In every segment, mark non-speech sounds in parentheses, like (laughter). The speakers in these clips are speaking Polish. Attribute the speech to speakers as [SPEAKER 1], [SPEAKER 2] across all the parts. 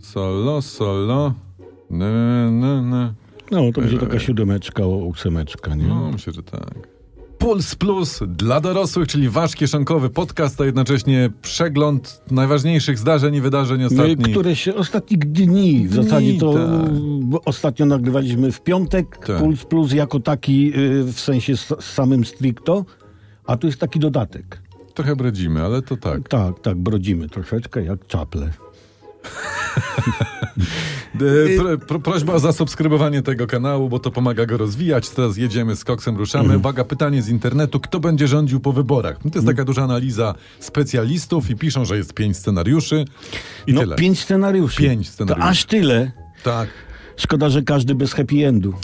[SPEAKER 1] Solo, solo. Na, na, na.
[SPEAKER 2] No, to będzie taka siódemeczka, ósemeczka, nie?
[SPEAKER 1] E, No, myślę, że tak. Puls Plus dla dorosłych, czyli wasz kieszonkowy podcast, a jednocześnie przegląd najważniejszych zdarzeń i wydarzeń
[SPEAKER 2] No,
[SPEAKER 1] ostatnich.
[SPEAKER 2] Które się ostatnich dni, w
[SPEAKER 1] Dni,
[SPEAKER 2] zasadzie to
[SPEAKER 1] tak.
[SPEAKER 2] m, ostatnio nagrywaliśmy w piątek,
[SPEAKER 1] Tak.
[SPEAKER 2] Puls Plus jako taki y, w sensie s- samym stricto, a tu jest taki dodatek.
[SPEAKER 1] Trochę bredzimy, ale to tak.
[SPEAKER 2] Tak, tak, brodzimy troszeczkę jak czaple.
[SPEAKER 1] E, Pro, pro, prośba o zasubskrybowanie tego kanału, bo to pomaga go rozwijać. Teraz jedziemy z koksem, ruszamy. Uwaga, pytanie z internetu. Kto będzie rządził po wyborach? To jest taka duża analiza specjalistów i piszą, że jest pięć scenariuszy i
[SPEAKER 2] no,
[SPEAKER 1] tyle.
[SPEAKER 2] pięć scenariuszy.
[SPEAKER 1] Pięć scenariuszy.
[SPEAKER 2] To aż tyle.
[SPEAKER 1] Tak,
[SPEAKER 2] Szkoda, że każdy bez happy endu.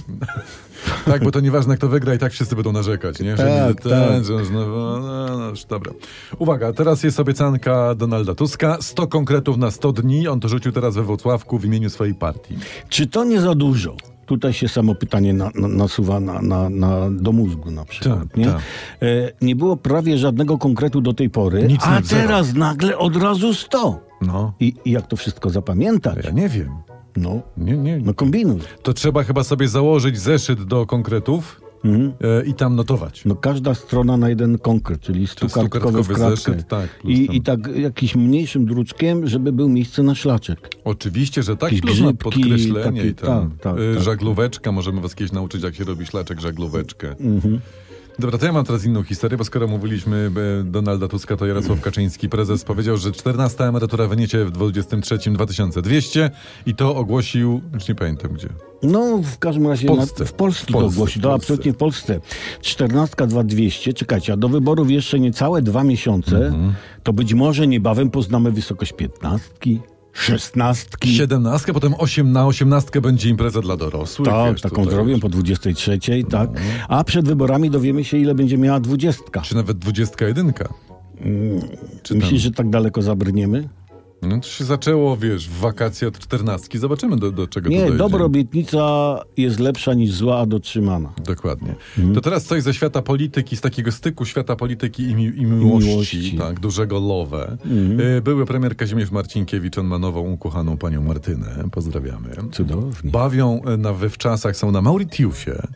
[SPEAKER 1] tak, bo to nieważne kto wygra i tak wszyscy będą narzekać, nie? Że
[SPEAKER 2] Tak,
[SPEAKER 1] niby ten,
[SPEAKER 2] tak.
[SPEAKER 1] że znowu, no, no, już, dobra. Uwaga, teraz jest obiecanka Donalda Tuska. 100 konkretów na 100 dni. On to rzucił teraz we Włocławku w imieniu swojej partii.
[SPEAKER 2] Czy to nie za dużo? Tutaj się samo pytanie na, na, nasuwa na, na, na, do mózgu na przykład.
[SPEAKER 1] Tak,
[SPEAKER 2] nie?
[SPEAKER 1] tak.
[SPEAKER 2] E, nie było prawie żadnego konkretu do tej pory,
[SPEAKER 1] Nic
[SPEAKER 2] a
[SPEAKER 1] nie wzero.
[SPEAKER 2] teraz nagle od razu 100.
[SPEAKER 1] No,
[SPEAKER 2] I, I jak to wszystko zapamiętać?
[SPEAKER 1] ja nie wiem.
[SPEAKER 2] No,
[SPEAKER 1] Nie, nie,
[SPEAKER 2] no kombinuj.
[SPEAKER 1] To trzeba chyba sobie założyć zeszyt do konkretów
[SPEAKER 2] Mhm.
[SPEAKER 1] e, i tam notować.
[SPEAKER 2] No każda strona na jeden konkret, czyli stukartkowy w
[SPEAKER 1] stukartkowy
[SPEAKER 2] kratkę.
[SPEAKER 1] zeszyt, tak, plus tam-
[SPEAKER 2] I, I tak jakiś mniejszym druczkiem, żeby był miejsce na szlaczek.
[SPEAKER 1] Oczywiście, że tak,
[SPEAKER 2] Jakieś
[SPEAKER 1] plus na
[SPEAKER 2] grzybki,
[SPEAKER 1] podkreślenie i
[SPEAKER 2] takie-
[SPEAKER 1] tam.
[SPEAKER 2] tak, tak,
[SPEAKER 1] e,
[SPEAKER 2] tak.
[SPEAKER 1] Żaglóweczka, możemy was kiedyś nauczyć, jak się robi szlaczek, żaglóweczkę.
[SPEAKER 2] Mhm.
[SPEAKER 1] Dobra, to ja mam teraz inną historię, bo skoro mówiliśmy e, Donalda Tuska, to
[SPEAKER 2] Mhm.
[SPEAKER 1] Jarosław Kaczyński, prezes, powiedział, że 14 emerytura wyniecie w 23 2200 i to ogłosił, już nie pamiętam gdzie.
[SPEAKER 2] No, w każdym razie
[SPEAKER 1] W Polsce.
[SPEAKER 2] Na, w Polsce
[SPEAKER 1] W
[SPEAKER 2] to
[SPEAKER 1] Polsce,
[SPEAKER 2] ogłosi,
[SPEAKER 1] w
[SPEAKER 2] to
[SPEAKER 1] Polsce.
[SPEAKER 2] absolutnie w Polsce. 14 2200, czekajcie, a do wyborów jeszcze niecałe dwa miesiące, to być może niebawem poznamy wysokość 15, 16.
[SPEAKER 1] 17, potem 8 na 18 będzie impreza dla dorosłych.
[SPEAKER 2] Tak,
[SPEAKER 1] wiesz,
[SPEAKER 2] taką
[SPEAKER 1] tutaj
[SPEAKER 2] zrobię po 23, tak. A przed wyborami dowiemy się, ile będzie miała 20.
[SPEAKER 1] Czy nawet 21. Czy tam-
[SPEAKER 2] Myślisz, że tak daleko zabrniemy?
[SPEAKER 1] No to się zaczęło, wiesz, w wakacje od czternastki. Zobaczymy, do, do czego to
[SPEAKER 2] Nie,
[SPEAKER 1] dojdzie.
[SPEAKER 2] dobra obietnica jest lepsza niż zła, a dotrzymana.
[SPEAKER 1] Dokładnie.
[SPEAKER 2] Mhm.
[SPEAKER 1] To teraz coś ze świata polityki, z takiego styku świata polityki i, mi, i miłości,
[SPEAKER 2] miłości. Mhm.
[SPEAKER 1] tak, dużego love. Y, Były premier Kazimierz Marcinkiewicz, on ma nową, ukochaną panią Martynę. Pozdrawiamy.
[SPEAKER 2] Cudownie.
[SPEAKER 1] Bawią y, na wywczasach, są na Mauritiusie.
[SPEAKER 2] Mhm.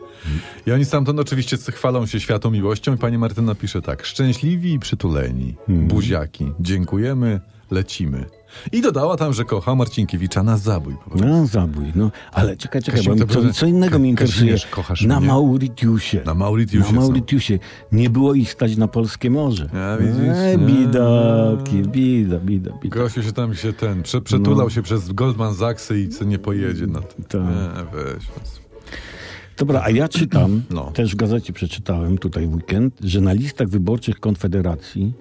[SPEAKER 1] I oni stamtąd oczywiście chwalą się światą miłością i pani Martyna pisze tak, szczęśliwi i przytuleni,
[SPEAKER 2] Mhm.
[SPEAKER 1] buziaki, dziękujemy, lecimy. I dodała tam, że kocha Marcinkiewicza na zabój. Po prostu.
[SPEAKER 2] No, zabój, no. Ale czekaj, czekaj,
[SPEAKER 1] Kasim,
[SPEAKER 2] bo
[SPEAKER 1] to
[SPEAKER 2] co,
[SPEAKER 1] będzie-
[SPEAKER 2] co innego
[SPEAKER 1] Ka-
[SPEAKER 2] mnie interesuje.
[SPEAKER 1] Kazimierz, kochasz
[SPEAKER 2] na
[SPEAKER 1] mnie?
[SPEAKER 2] Mauritiusie.
[SPEAKER 1] Na Mauritiusie są.
[SPEAKER 2] Na Mauritiusie. Nie było ich stać na polskie morze.
[SPEAKER 1] A, widzisz?
[SPEAKER 2] Ej, bidaki, bida, bida, bida.
[SPEAKER 1] Gosiu się tam się ten, prze, przetulał się przez Goldman Sachsy i co nie pojedzie na tym.
[SPEAKER 2] No. Tak.
[SPEAKER 1] Nie, weź. was.
[SPEAKER 2] Dobra, a ja
[SPEAKER 1] (clears throat)
[SPEAKER 2] czytam,
[SPEAKER 1] No.
[SPEAKER 2] też w gazecie przeczytałem tutaj w weekend, że na listach wyborczych Konfederacji,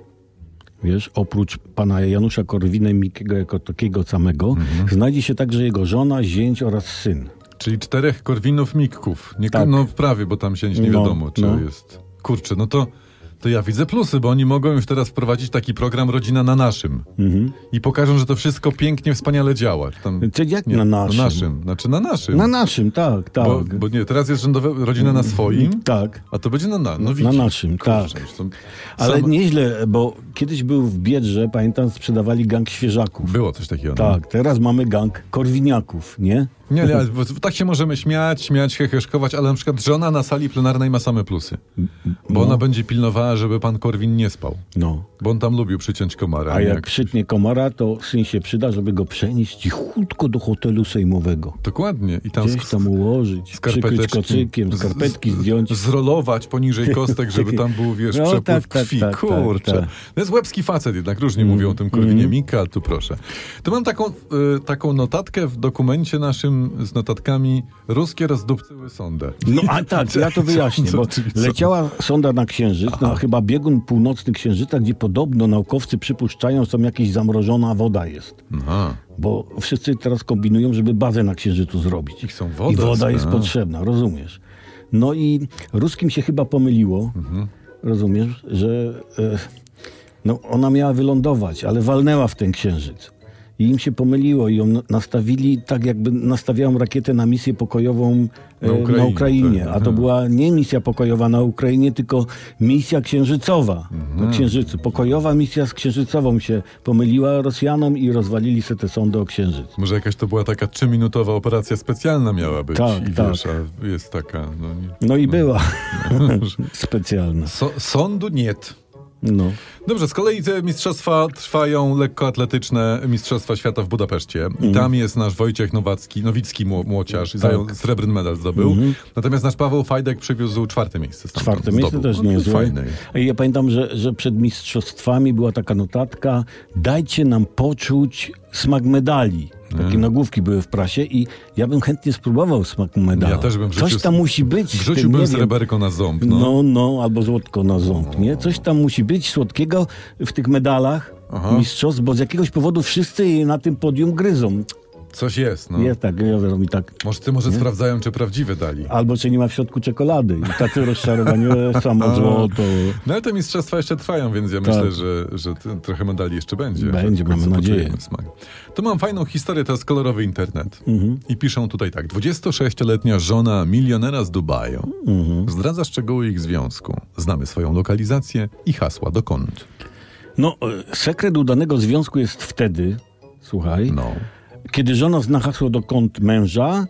[SPEAKER 2] wiesz, oprócz pana Janusza Korwina-Mikkego jako takiego samego,
[SPEAKER 1] Mhm.
[SPEAKER 2] znajdzie się także jego żona, zięć oraz syn.
[SPEAKER 1] Czyli czterech korwinów mików. Nie,
[SPEAKER 2] Tak.
[SPEAKER 1] No prawie, bo tam się nie
[SPEAKER 2] No,
[SPEAKER 1] wiadomo, czy
[SPEAKER 2] no.
[SPEAKER 1] jest. Kurczę, no to, to ja widzę plusy, bo oni mogą już teraz wprowadzić taki program Rodzina na naszym.
[SPEAKER 2] Mhm.
[SPEAKER 1] I pokażą, że to wszystko pięknie, wspaniale działa. Tam,
[SPEAKER 2] Czy jak na naszym?
[SPEAKER 1] Na naszym, znaczy na naszym.
[SPEAKER 2] Na naszym, tak, tak.
[SPEAKER 1] bo, bo nie, teraz jest rządowe Rodzina na swoim,
[SPEAKER 2] Tak.
[SPEAKER 1] a to będzie na, na, no
[SPEAKER 2] Na
[SPEAKER 1] widzisz.
[SPEAKER 2] naszym,
[SPEAKER 1] Kurczę,
[SPEAKER 2] tak.
[SPEAKER 1] już są-
[SPEAKER 2] Ale
[SPEAKER 1] sam-
[SPEAKER 2] nieźle, bo kiedyś był w Biedrze, pamiętam, sprzedawali gang świeżaków.
[SPEAKER 1] Było coś takiego. no.
[SPEAKER 2] Tak, teraz mamy gang korwiniaków, nie?
[SPEAKER 1] Nie, nie, ale bo tak się możemy śmiać, śmiać, heheszkować, ale na przykład żona na sali plenarnej ma same plusy. Bo ona będzie pilnowała, żeby pan Korwin nie spał.
[SPEAKER 2] No.
[SPEAKER 1] Bo on tam lubił przyciąć komara.
[SPEAKER 2] A
[SPEAKER 1] nie?
[SPEAKER 2] jak przytnie komara, to syn się przyda, żeby go przenieść cichutko do hotelu sejmowego.
[SPEAKER 1] Dokładnie. I tam
[SPEAKER 2] Gdzieś tam ułożyć, przykryć
[SPEAKER 1] skarpeteczki-
[SPEAKER 2] kocykiem,
[SPEAKER 1] z-
[SPEAKER 2] skarpetki
[SPEAKER 1] z-
[SPEAKER 2] zdjąć.
[SPEAKER 1] Zrolować poniżej kostek, żeby tam był, wiesz,
[SPEAKER 2] (laughs) No,
[SPEAKER 1] przepływ
[SPEAKER 2] tak, tak,
[SPEAKER 1] krwi.
[SPEAKER 2] tak, tak,
[SPEAKER 1] Kurczę.
[SPEAKER 2] tak. Mm,
[SPEAKER 1] To jest łebski facet jednak, różnie mówią o tym Korwinie Mika, ale tu proszę. Tu mam taką, y, taką notatkę w dokumencie naszym z notatkami Ruskie rozdupcyły sondę.
[SPEAKER 2] No a tak, ja to wyjaśnię,
[SPEAKER 1] (laughs) Co-
[SPEAKER 2] bo
[SPEAKER 1] czyli co?
[SPEAKER 2] leciała sonda na Księżyc, na chyba biegun północny Księżyca, gdzie podobno naukowcy przypuszczają, że tam jakaś zamrożona woda jest.
[SPEAKER 1] Aha.
[SPEAKER 2] Bo wszyscy teraz kombinują, żeby bazę na Księżycu zrobić.
[SPEAKER 1] I chcą wodę,
[SPEAKER 2] I woda jest
[SPEAKER 1] a.
[SPEAKER 2] potrzebna, rozumiesz. No i ruskim się chyba pomyliło, rozumiesz, że e, no, ona miała wylądować, ale walnęła w ten Księżyc. I im się pomyliło i ją nastawili tak, jakby nastawiają rakietę na misję pokojową e,
[SPEAKER 1] Na
[SPEAKER 2] na
[SPEAKER 1] Ukrainie,
[SPEAKER 2] Ukrainie.
[SPEAKER 1] tak.
[SPEAKER 2] A to
[SPEAKER 1] Mhm.
[SPEAKER 2] była nie misja pokojowa na Ukrainie, tylko misja księżycowa
[SPEAKER 1] Mhm.
[SPEAKER 2] na Księżycu. Pokojowa misja z księżycową się pomyliła Rosjanom i rozwalili se te sądy o księżyc.
[SPEAKER 1] Może jakaś to była taka trzyminutowa operacja specjalna miała być.
[SPEAKER 2] Tak,
[SPEAKER 1] I
[SPEAKER 2] tak.
[SPEAKER 1] wiesz, a jest taka. No, nie.
[SPEAKER 2] No i była
[SPEAKER 1] No.
[SPEAKER 2] (laughs) specjalna.
[SPEAKER 1] So, sądu nie.
[SPEAKER 2] No.
[SPEAKER 1] Dobrze, z kolei te mistrzostwa trwają lekkoatletyczne Mistrzostwa Świata w Budapeszcie. I
[SPEAKER 2] Mhm.
[SPEAKER 1] tam jest nasz Wojciech Nowacki, Nowicki mło- młociarz, tak. zajął, srebrny medal zdobył. Natomiast nasz Paweł Fajdek przywiózł czwarte miejsce. stamtąd,
[SPEAKER 2] Mhm. Czwarte miejsce
[SPEAKER 1] zdobył.
[SPEAKER 2] też
[SPEAKER 1] No,
[SPEAKER 2] niezłe.
[SPEAKER 1] Fajne.
[SPEAKER 2] I Ja pamiętam, że, że przed mistrzostwami była taka notatka dajcie nam poczuć smak medali. Takie nagłówki były w prasie i ja bym chętnie spróbował smak medalu.
[SPEAKER 1] Ja też bym
[SPEAKER 2] Coś
[SPEAKER 1] wrzucił-
[SPEAKER 2] tam musi być. w tym,
[SPEAKER 1] Wrzuciłbym
[SPEAKER 2] nie wiem.
[SPEAKER 1] sreberko na ząb. No.
[SPEAKER 2] No, no, albo złotko na ząb, nie? Coś tam musi być słodkiego w tych medalach
[SPEAKER 1] Aha.
[SPEAKER 2] mistrzostw, bo z jakiegoś powodu wszyscy na tym podium gryzą.
[SPEAKER 1] Coś jest, no.
[SPEAKER 2] Jest tak, gryzą i tak.
[SPEAKER 1] Może ty może sprawdzają, czy prawdziwe dali.
[SPEAKER 2] Albo czy nie ma w środku czekolady. I tacy rozczarowani, e,
[SPEAKER 1] (laughs)
[SPEAKER 2] samo złoto.
[SPEAKER 1] No ale te mistrzostwa jeszcze trwają, więc ja myślę, że, że t- trochę medali jeszcze będzie.
[SPEAKER 2] Tak. Będzie,
[SPEAKER 1] W końcu
[SPEAKER 2] mamy
[SPEAKER 1] poczujemy
[SPEAKER 2] nadzieję.
[SPEAKER 1] Smak. Tu mam fajną historię, to jest kolorowy internet.
[SPEAKER 2] Mhm.
[SPEAKER 1] I piszą tutaj tak. 26-letnia żona milionera z Dubaju
[SPEAKER 2] Mhm.
[SPEAKER 1] zdradza szczegóły ich związku. Znamy swoją lokalizację i hasła dokąd.
[SPEAKER 2] No, e, sekret udanego związku jest wtedy, słuchaj,
[SPEAKER 1] No.
[SPEAKER 2] kiedy żona zna hasło dokąd męża,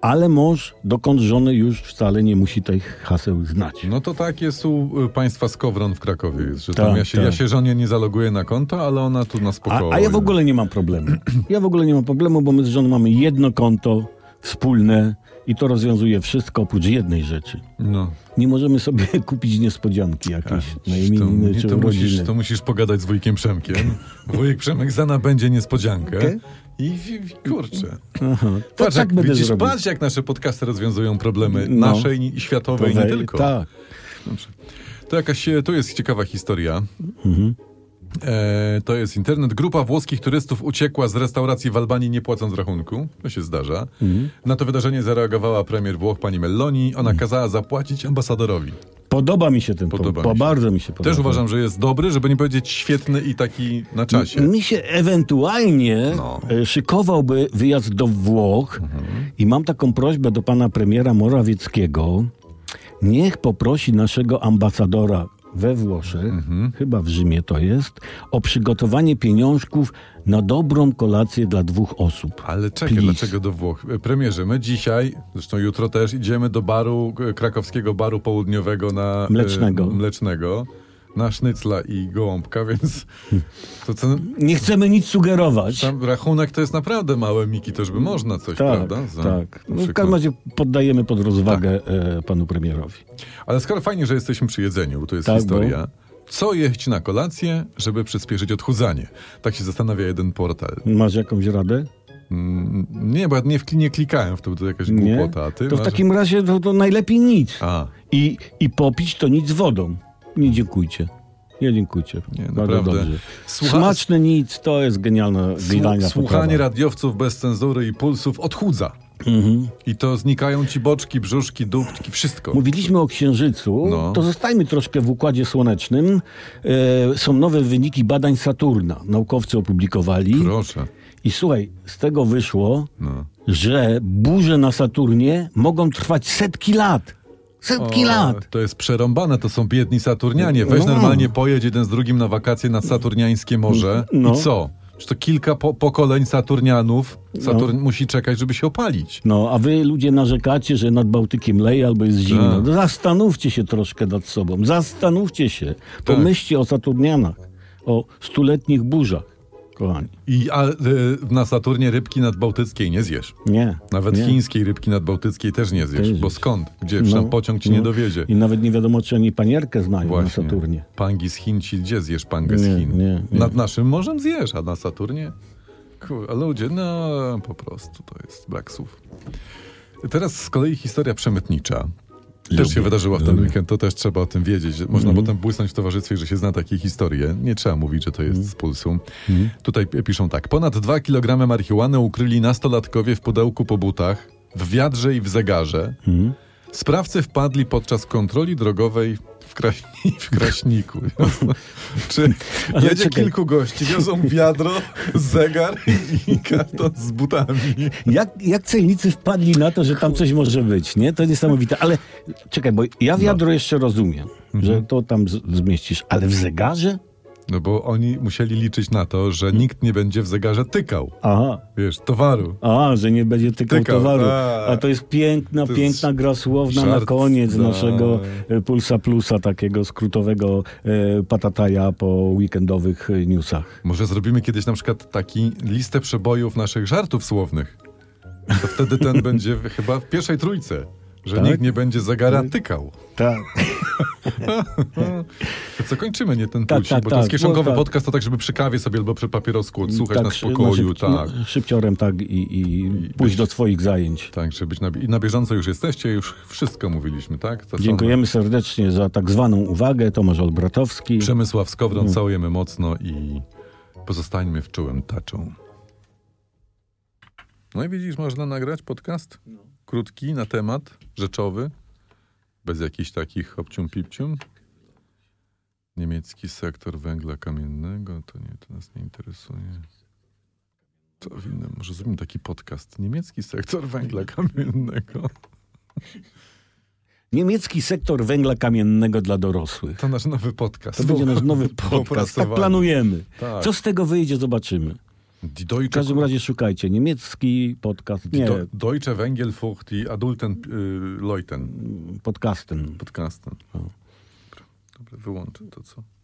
[SPEAKER 2] ale mąż dokąd żony już wcale nie musi tych haseł znać.
[SPEAKER 1] No to tak jest u y, państwa Skowron w Krakowie. Jest, że tam
[SPEAKER 2] Tak,
[SPEAKER 1] ja, się,
[SPEAKER 2] tak.
[SPEAKER 1] ja się żonie nie zaloguję na konto, ale ona tu na spokojnie.
[SPEAKER 2] A, a ja w ogóle nie mam problemu. Ja w ogóle nie mam problemu, bo my z żoną mamy jedno konto wspólne i to rozwiązuje wszystko oprócz jednej rzeczy.
[SPEAKER 1] No.
[SPEAKER 2] Nie możemy sobie (laughs) kupić niespodzianki jakiejś na
[SPEAKER 1] Tak, To,
[SPEAKER 2] imieniny
[SPEAKER 1] nie,
[SPEAKER 2] czy
[SPEAKER 1] to, musisz,
[SPEAKER 2] urodziny.
[SPEAKER 1] to musisz pogadać z wujkiem Przemkiem. Wujek Przemek zana będzie niespodziankę.
[SPEAKER 2] Okej.
[SPEAKER 1] I, i kurczę.
[SPEAKER 2] Aha. To
[SPEAKER 1] Patrz,
[SPEAKER 2] tak
[SPEAKER 1] jak,
[SPEAKER 2] będę
[SPEAKER 1] widzisz,
[SPEAKER 2] zrobił.
[SPEAKER 1] patrz, jak nasze podcasty rozwiązują problemy
[SPEAKER 2] No.
[SPEAKER 1] naszej i światowej, nie
[SPEAKER 2] Wej-
[SPEAKER 1] tylko.
[SPEAKER 2] Tak.
[SPEAKER 1] Dobrze. To jakaś, e, to jest ciekawa historia.
[SPEAKER 2] Mhm.
[SPEAKER 1] E, to jest internet. Grupa włoskich turystów uciekła z restauracji w Albanii nie płacąc rachunku. To się zdarza.
[SPEAKER 2] Mhm.
[SPEAKER 1] Na to wydarzenie zareagowała premier Włoch pani Meloni. Ona kazała zapłacić ambasadorowi.
[SPEAKER 2] Podoba mi się ten
[SPEAKER 1] Podoba
[SPEAKER 2] podoba
[SPEAKER 1] mi się.
[SPEAKER 2] Bardzo mi się podoba.
[SPEAKER 1] Też uważam, że jest dobry, żeby nie powiedzieć świetny i taki na czasie.
[SPEAKER 2] Mi się ewentualnie
[SPEAKER 1] No.
[SPEAKER 2] e, szykowałby wyjazd do Włoch i mam taką prośbę do pana premiera Morawieckiego. Niech poprosi naszego ambasadora we Włoszech, chyba w Rzymie to jest, o przygotowanie pieniążków na dobrą kolację dla dwóch osób.
[SPEAKER 1] Ale czekaj,
[SPEAKER 2] Please.
[SPEAKER 1] dlaczego do Włoch? E, Premierze, my dzisiaj, zresztą jutro też, idziemy do baru, e, krakowskiego baru południowego na... e,
[SPEAKER 2] Mlecznego.
[SPEAKER 1] mlecznego. Na sznycla i gołąbka, (laughs) więc to ten,
[SPEAKER 2] Nie chcemy nic sugerować.
[SPEAKER 1] tam rachunek to jest naprawdę małe miki, to żeby można coś,
[SPEAKER 2] tak,
[SPEAKER 1] prawda? Za-
[SPEAKER 2] tak.
[SPEAKER 1] na
[SPEAKER 2] No, w
[SPEAKER 1] przykład. Tak.
[SPEAKER 2] każdym razie poddajemy pod rozwagę e, panu premierowi.
[SPEAKER 1] Ale skoro fajnie, że jesteśmy przy jedzeniu, bo to jest
[SPEAKER 2] Tak,
[SPEAKER 1] historia. Co jeść na kolację, żeby przyspieszyć odchudzanie? Tak się zastanawia jeden portal.
[SPEAKER 2] Masz jakąś radę?
[SPEAKER 1] Mm, Nie, bo ja nie, wkli- nie klikałem w to, bo to jakaś głupota. A ty
[SPEAKER 2] To w
[SPEAKER 1] masz-
[SPEAKER 2] takim razie to, to najlepiej nic.
[SPEAKER 1] A,
[SPEAKER 2] I, I popić to nic z wodą. Nie dziękujcie. Nie dziękujcie.
[SPEAKER 1] Nie,
[SPEAKER 2] Bardzo
[SPEAKER 1] naprawdę.
[SPEAKER 2] dobrze.
[SPEAKER 1] Słucha-
[SPEAKER 2] Smaczne nic to jest genialna,
[SPEAKER 1] Słu-
[SPEAKER 2] genialna
[SPEAKER 1] Słuchanie
[SPEAKER 2] potrawa.
[SPEAKER 1] radiowców bez cenzury i pulsów odchudza.
[SPEAKER 2] Mhm.
[SPEAKER 1] I to znikają ci boczki, brzuszki, dupki, wszystko.
[SPEAKER 2] Mówiliśmy o księżycu,
[SPEAKER 1] No.
[SPEAKER 2] to zostajmy troszkę w układzie słonecznym. E, są nowe wyniki badań Saturna. Naukowcy opublikowali.
[SPEAKER 1] Proszę.
[SPEAKER 2] I słuchaj, z tego wyszło,
[SPEAKER 1] No.
[SPEAKER 2] że burze na Saturnie mogą trwać setki lat. Setki lat.
[SPEAKER 1] To jest przerąbane, to są biedni Saturnianie. Weź
[SPEAKER 2] No.
[SPEAKER 1] normalnie pojedź jeden z drugim na wakacje na Saturniańskie Morze.
[SPEAKER 2] No.
[SPEAKER 1] I co? Czy to kilka po pokoleń Saturnianów Saturn musi czekać, żeby się opalić?
[SPEAKER 2] No, a wy ludzie narzekacie, że nad Bałtykiem leje albo jest zimno. No,
[SPEAKER 1] Tak.
[SPEAKER 2] Zastanówcie się troszkę nad sobą. Zastanówcie się.
[SPEAKER 1] Tak.
[SPEAKER 2] Pomyślcie o Saturnianach, o stuletnich burzach, kochani.
[SPEAKER 1] I a, y, na Saturnie rybki nadbałtyckiej nie zjesz.
[SPEAKER 2] Nie.
[SPEAKER 1] Nawet
[SPEAKER 2] nie.
[SPEAKER 1] chińskiej rybki nadbałtyckiej też nie zjesz,
[SPEAKER 2] Też
[SPEAKER 1] bo
[SPEAKER 2] jest.
[SPEAKER 1] skąd? Gdzie? Przecież tam pociąg ci nie
[SPEAKER 2] no.
[SPEAKER 1] dowiezie.
[SPEAKER 2] I nawet nie wiadomo, czy oni panierkę znają
[SPEAKER 1] Właśnie.
[SPEAKER 2] na Saturnie.
[SPEAKER 1] Pangi z Chin ci gdzie zjesz pangę z
[SPEAKER 2] Nie,
[SPEAKER 1] Chin?
[SPEAKER 2] nie, nie.
[SPEAKER 1] Nad naszym morzem zjesz, a na Saturnie? Kur, a ludzie, no po prostu to jest brak słów. Teraz z kolei historia przemytnicza. Też się wydarzyła w ten weekend, to też trzeba o tym wiedzieć. że Można
[SPEAKER 2] Mhm.
[SPEAKER 1] potem błysnąć w towarzystwie, że się zna takie historie. Nie trzeba mówić, że to jest
[SPEAKER 2] Mhm.
[SPEAKER 1] z pulsu. Tutaj p- piszą tak. Ponad 2 kg marihuany ukryli nastolatkowie w pudełku po butach,
[SPEAKER 2] Mhm.
[SPEAKER 1] w wiadrze i w zegarze. Sprawcy wpadli podczas kontroli drogowej w, Kraśni, (laughs) w
[SPEAKER 2] (laughs)
[SPEAKER 1] Kraśniku. Czy
[SPEAKER 2] Ale
[SPEAKER 1] jedzie
[SPEAKER 2] czekaj.
[SPEAKER 1] kilku gości, wiozą wiadro, zegar i karton z butami.
[SPEAKER 2] Jak, jak celnicy wpadli na to, że tam coś może być, nie? To niesamowite. Ale czekaj, bo ja wiadro jeszcze rozumiem,
[SPEAKER 1] Mhm.
[SPEAKER 2] że to tam z- zmieścisz, ale w zegarze?
[SPEAKER 1] No bo oni musieli liczyć na to, że nikt nie będzie w zegarze tykał,
[SPEAKER 2] Aha.
[SPEAKER 1] wiesz, towaru.
[SPEAKER 2] A, że nie będzie tykał
[SPEAKER 1] Tykał,
[SPEAKER 2] towaru.
[SPEAKER 1] tak.
[SPEAKER 2] A to jest piękna,
[SPEAKER 1] To jest
[SPEAKER 2] piękna gra słowna na
[SPEAKER 1] żart,
[SPEAKER 2] koniec
[SPEAKER 1] tak.
[SPEAKER 2] naszego e, Pulsa Plusa, takiego skrótowego e, patataja po weekendowych e, newsach.
[SPEAKER 1] Może zrobimy kiedyś na przykład taki listę przebojów naszych żartów słownych. To wtedy
[SPEAKER 2] (laughs)
[SPEAKER 1] ten będzie w- chyba w pierwszej trójce, że
[SPEAKER 2] Tak?
[SPEAKER 1] nikt nie będzie zegara tykał. No,
[SPEAKER 2] Tak.
[SPEAKER 1] To co, kończymy, nie ten
[SPEAKER 2] Tak,
[SPEAKER 1] tak,
[SPEAKER 2] tak,
[SPEAKER 1] bo to jest
[SPEAKER 2] tak,
[SPEAKER 1] kieszonkowy
[SPEAKER 2] bo Mm, tak.
[SPEAKER 1] podcast, to tak, żeby przy kawie sobie albo przy papierosku odsłuchać na
[SPEAKER 2] szy-
[SPEAKER 1] spokoju,
[SPEAKER 2] szybci-
[SPEAKER 1] tak.
[SPEAKER 2] no, szybciorem, tak, i, i, pójść do swoich zajęć.
[SPEAKER 1] Tak, żeby być na, i na bieżąco już jesteście, już wszystko mówiliśmy, tak? To są-
[SPEAKER 2] Dziękujemy serdecznie za tak zwaną uwagę. Tomasz Olbratowski.
[SPEAKER 1] Przemysław
[SPEAKER 2] Mm.
[SPEAKER 1] Skowron, całujemy mocno i pozostańmy w czułym taczą. No i widzisz, można nagrać podcast krótki, na temat, rzeczowy, bez jakichś takich obcium-pipcium. Niemiecki sektor węgla kamiennego, to nie, to nas nie interesuje. To inne, może zrobimy taki podcast. Niemiecki sektor węgla kamiennego.
[SPEAKER 2] Niemiecki sektor węgla kamiennego dla dorosłych.
[SPEAKER 1] To nasz nowy podcast.
[SPEAKER 2] To będzie nasz
[SPEAKER 1] (laughs)
[SPEAKER 2] nowy podcast. Tak
[SPEAKER 1] Opracowany.
[SPEAKER 2] planujemy.
[SPEAKER 1] Tak.
[SPEAKER 2] Co z tego wyjdzie, zobaczymy.
[SPEAKER 1] Die
[SPEAKER 2] W
[SPEAKER 1] Deutsche
[SPEAKER 2] każdym razie szukajcie. Niemiecki podcast. Nie,
[SPEAKER 1] Do, Deutsche Węgielfurt i Adulten y, Leuten
[SPEAKER 2] podcastem.
[SPEAKER 1] podcastem. Dobra, wyłączę to co.